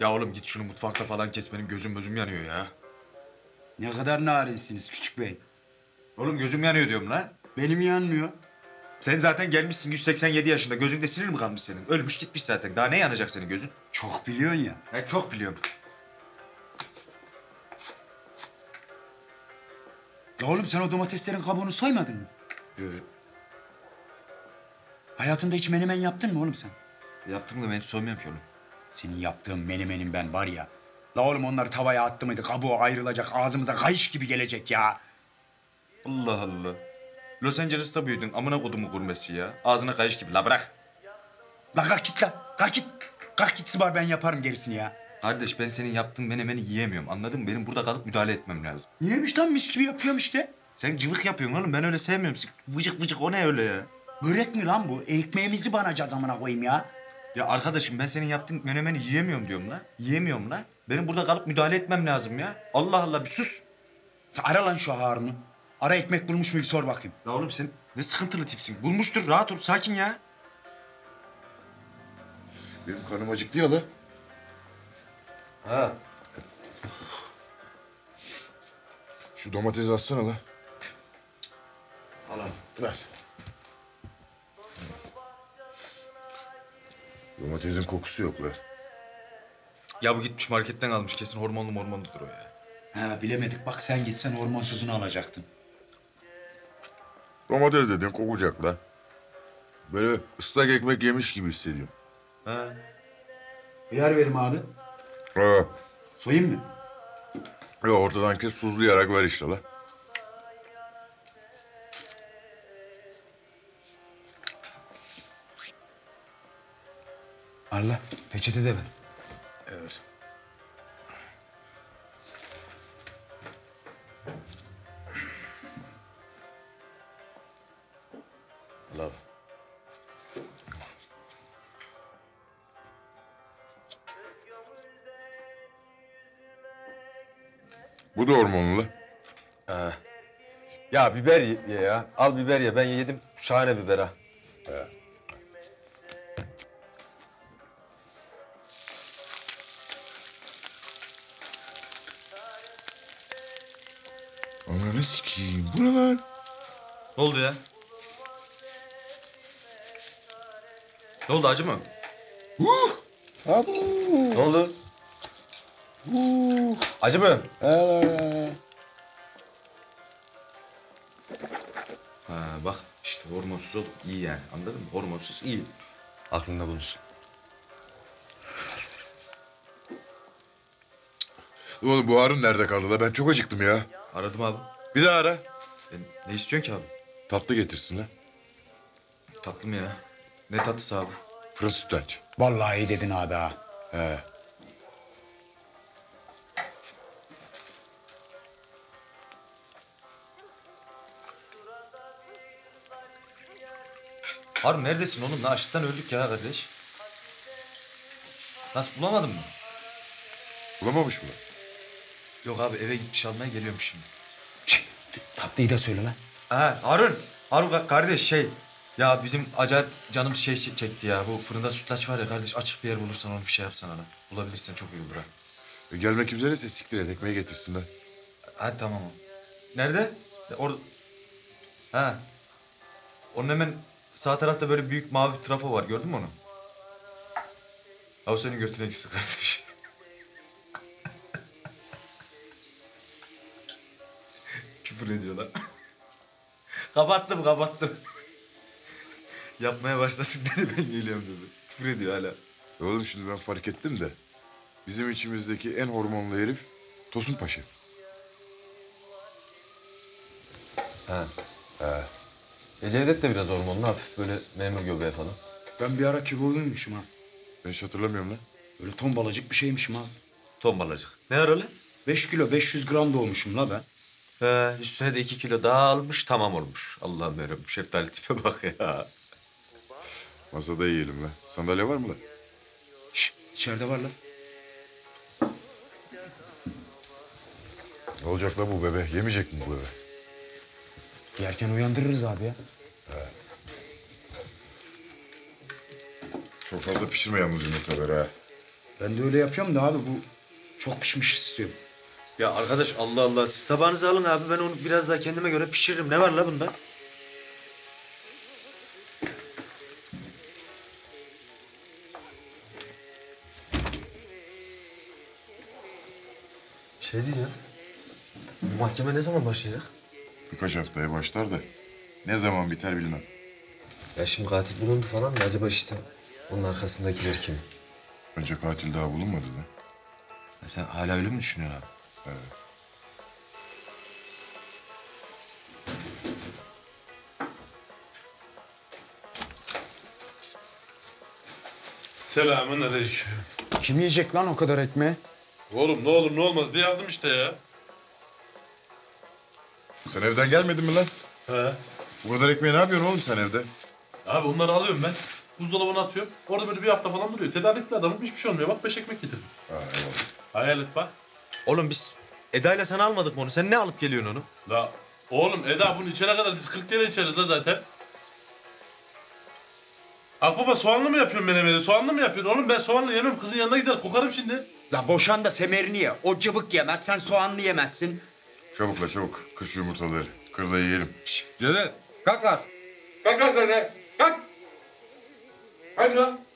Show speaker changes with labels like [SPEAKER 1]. [SPEAKER 1] Ya oğlum git şunu mutfakta falan kes benim gözüm gözüm yanıyor ya.
[SPEAKER 2] Ne kadar narinsiniz küçük bey.
[SPEAKER 1] Oğlum gözüm yanıyor diyorum lan.
[SPEAKER 2] Benim yanmıyor.
[SPEAKER 1] Sen zaten gelmişsin 187 yaşında gözünde sinir mi kalmış senin? Ölmüş gitmiş zaten daha ne yanacak senin gözün?
[SPEAKER 2] Çok biliyorsun ya.
[SPEAKER 1] Ben çok biliyorum.
[SPEAKER 2] Ya oğlum sen o domateslerin kabuğunu soymadın mı?
[SPEAKER 1] Ee,
[SPEAKER 2] Hayatında hiç menemen yaptın mı oğlum sen?
[SPEAKER 1] Yaptım da ben soymuyorum ki oğlum.
[SPEAKER 2] Senin yaptığın menemenin ben var ya. La oğlum onları tavaya attı mıydı kabuğu ayrılacak ağzımıza kayış gibi gelecek ya.
[SPEAKER 1] Allah Allah. Los Angeles'ta büyüdün amına kodumu gurmesi ya. Ağzına kayış gibi la bırak.
[SPEAKER 2] La kalk git la. Kalk git. Kalk gitsin var ben yaparım gerisini ya.
[SPEAKER 1] Kardeş ben senin yaptığın menemeni yiyemiyorum anladın mı? Benim burada kalıp müdahale etmem lazım.
[SPEAKER 2] Niyemiş lan mis gibi yapıyorum işte.
[SPEAKER 1] Sen cıvık yapıyorsun oğlum ben öyle sevmiyorum. Vıcık vıcık o ne öyle ya?
[SPEAKER 2] Börek mi lan bu? Ekmeğimizi banacağız amına koyayım ya.
[SPEAKER 1] Ya arkadaşım ben senin yaptığın menemeni yiyemiyorum diyorum la. Yiyemiyorum la. Benim burada kalıp müdahale etmem lazım ya. Allah Allah bir sus.
[SPEAKER 2] Ya Ara lan şu Harun'u. Ara ekmek bulmuş mu bir sor bakayım.
[SPEAKER 1] Ya oğlum sen ne sıkıntılı tipsin. Bulmuştur rahat ol sakin ya.
[SPEAKER 3] Benim karnım acıktı ya la.
[SPEAKER 1] Ha.
[SPEAKER 3] Şu domatesi atsana la.
[SPEAKER 1] Alın.
[SPEAKER 3] Ver. Domatesin kokusu yok la.
[SPEAKER 1] Ya bu gitmiş marketten almış kesin hormonlu mormonludur o ya.
[SPEAKER 2] Ha bilemedik bak sen gitsen hormonsuzunu alacaktın.
[SPEAKER 3] Domates dedin kokacak la. Böyle ıslak ekmek yemiş gibi hissediyorum.
[SPEAKER 1] Ha.
[SPEAKER 2] Yer verim abi.
[SPEAKER 3] Ha.
[SPEAKER 2] Soyayım mı?
[SPEAKER 3] Ya ortadan kes tuzlayarak ver işte la.
[SPEAKER 2] Allah peçete de ver.
[SPEAKER 3] Evet. Love. Bu da hormonlu.
[SPEAKER 4] Ya biber ye ye ya. Al biber ye. Ben yedim. Şahane biber ha.
[SPEAKER 3] Ananı sikeyim. Bu ne lan?
[SPEAKER 1] Ne oldu ya? Ne oldu acı mı?
[SPEAKER 3] Uh! Abu!
[SPEAKER 4] Ne oldu?
[SPEAKER 3] Uh!
[SPEAKER 4] Acı mı?
[SPEAKER 3] Ela!
[SPEAKER 1] Ha bak işte hormonsuz ol iyi yani anladın mı? Hormonsuz iyi.
[SPEAKER 4] Aklında bulunsun.
[SPEAKER 3] Oğlum bu Harun nerede kaldı la? Ben çok acıktım ya.
[SPEAKER 1] Aradım abi.
[SPEAKER 3] Bir daha ara.
[SPEAKER 1] Ben- ne istiyorsun ki abi?
[SPEAKER 3] Tatlı getirsin la.
[SPEAKER 1] Tatlı mı ya? Ne tatlısı abi?
[SPEAKER 3] Fırat sütlaç.
[SPEAKER 2] Vallahi iyi dedin abi ha.
[SPEAKER 3] He.
[SPEAKER 1] Harun neredesin oğlum? Lan açlıktan öldük ya kardeş. Nasıl bulamadın mı?
[SPEAKER 3] Bulamamış mı?
[SPEAKER 1] Yok abi eve gitmiş almaya geliyormuş şimdi.
[SPEAKER 2] Tatlıyı da söyle lan.
[SPEAKER 1] Ha Harun. Harun ka- kardeş şey. Ya bizim acayip canım şey şey çekti ya. Bu fırında sütlaç var ya kardeş açık bir yer bulursan onu bir şey yapsana lan. Bulabilirsen çok iyi olur ha.
[SPEAKER 3] E, gelmek üzereyse siktir et. Ekmeği getirsin lan.
[SPEAKER 1] Hadi tamam. Nerede? Orada. Ha. Onun hemen sağ tarafta böyle büyük mavi bir trafo var. Gördün mü onu? Ya o senin götüne gitsin kardeş. Küfür ediyorlar. kapattım kapattım. Yapmaya başlasın dedi ben geliyorum dedi. Küfür ediyor hala.
[SPEAKER 3] E Oğlum şimdi ben fark ettim de bizim içimizdeki en hormonlu herif Tosun Paşa.
[SPEAKER 4] Ha. E Cevdet de biraz hormonlu. Hafif böyle memur göbeği falan.
[SPEAKER 2] Ben bir ara kiloluymuşum ha.
[SPEAKER 3] Ben hiç hatırlamıyorum lan.
[SPEAKER 2] Öyle tombalacık bir şeymişim ha.
[SPEAKER 1] Tombalacık. Ne aralı?
[SPEAKER 2] 5 kilo 500 gram doğmuşum la ben.
[SPEAKER 1] He, Ee, üstüne de iki kilo daha almış tamam olmuş. Allah'ım yarabbim şeftali tipe bak ya.
[SPEAKER 3] Masada yiyelim lan. Sandalye var mı lan?
[SPEAKER 2] Şş, içeride var lan.
[SPEAKER 3] Ne olacak lan bu bebe? Yemeyecek mi bu bebe?
[SPEAKER 2] Yerken uyandırırız abi ya.
[SPEAKER 3] Çok fazla pişirme yalnız yumurtaları ha.
[SPEAKER 2] Ben de öyle yapıyorum da abi bu çok pişmiş istiyorum.
[SPEAKER 1] Ya arkadaş Allah Allah siz tabağınızı alın abi ben onu biraz daha kendime göre pişiririm. Ne var la bunda?
[SPEAKER 5] Şey diyeceğim. Bu mahkeme ne zaman başlayacak?
[SPEAKER 3] Birkaç haftaya başlar da ne zaman biter bilmem.
[SPEAKER 5] Ya şimdi katil bulundu falan da acaba işte onun arkasındakiler kim?
[SPEAKER 3] Önce katil daha bulunmadı da.
[SPEAKER 5] sen hala öyle mi düşünüyorsun abi?
[SPEAKER 6] Selamın aleyküm.
[SPEAKER 2] Kim yiyecek lan o kadar ekmeği?
[SPEAKER 6] Oğlum ne olur ne olmaz diye aldım işte ya.
[SPEAKER 3] Sen evden gelmedin mi lan?
[SPEAKER 6] He.
[SPEAKER 3] Bu kadar ekmeği ne yapıyorsun oğlum sen evde?
[SPEAKER 6] Abi onları alıyorum ben. Buzdolabına atıyorum. Orada böyle bir hafta falan duruyor. Tedarikli adamım hiçbir şey olmuyor. Bak beş ekmek getirdim. Hayal et bak.
[SPEAKER 1] Oğlum biz Eda'yla sen almadık mı onu? Sen ne alıp geliyorsun onu?
[SPEAKER 6] La oğlum Eda bunu içene kadar biz 40 kere içeriz la zaten. Akbaba soğanlı mı yapıyorsun menemeni? Soğanlı mı yapıyorsun? Oğlum ben soğanlı yemem. Kızın yanına gider kokarım şimdi.
[SPEAKER 2] La boşan da semerini ye. O cıvık yemez, sen soğanlı yemezsin.
[SPEAKER 3] Çabukla çabuk. Kış yumurtaları. Kırda yiyelim.
[SPEAKER 7] Kalk lan sen de. Kalk. Hadi lan.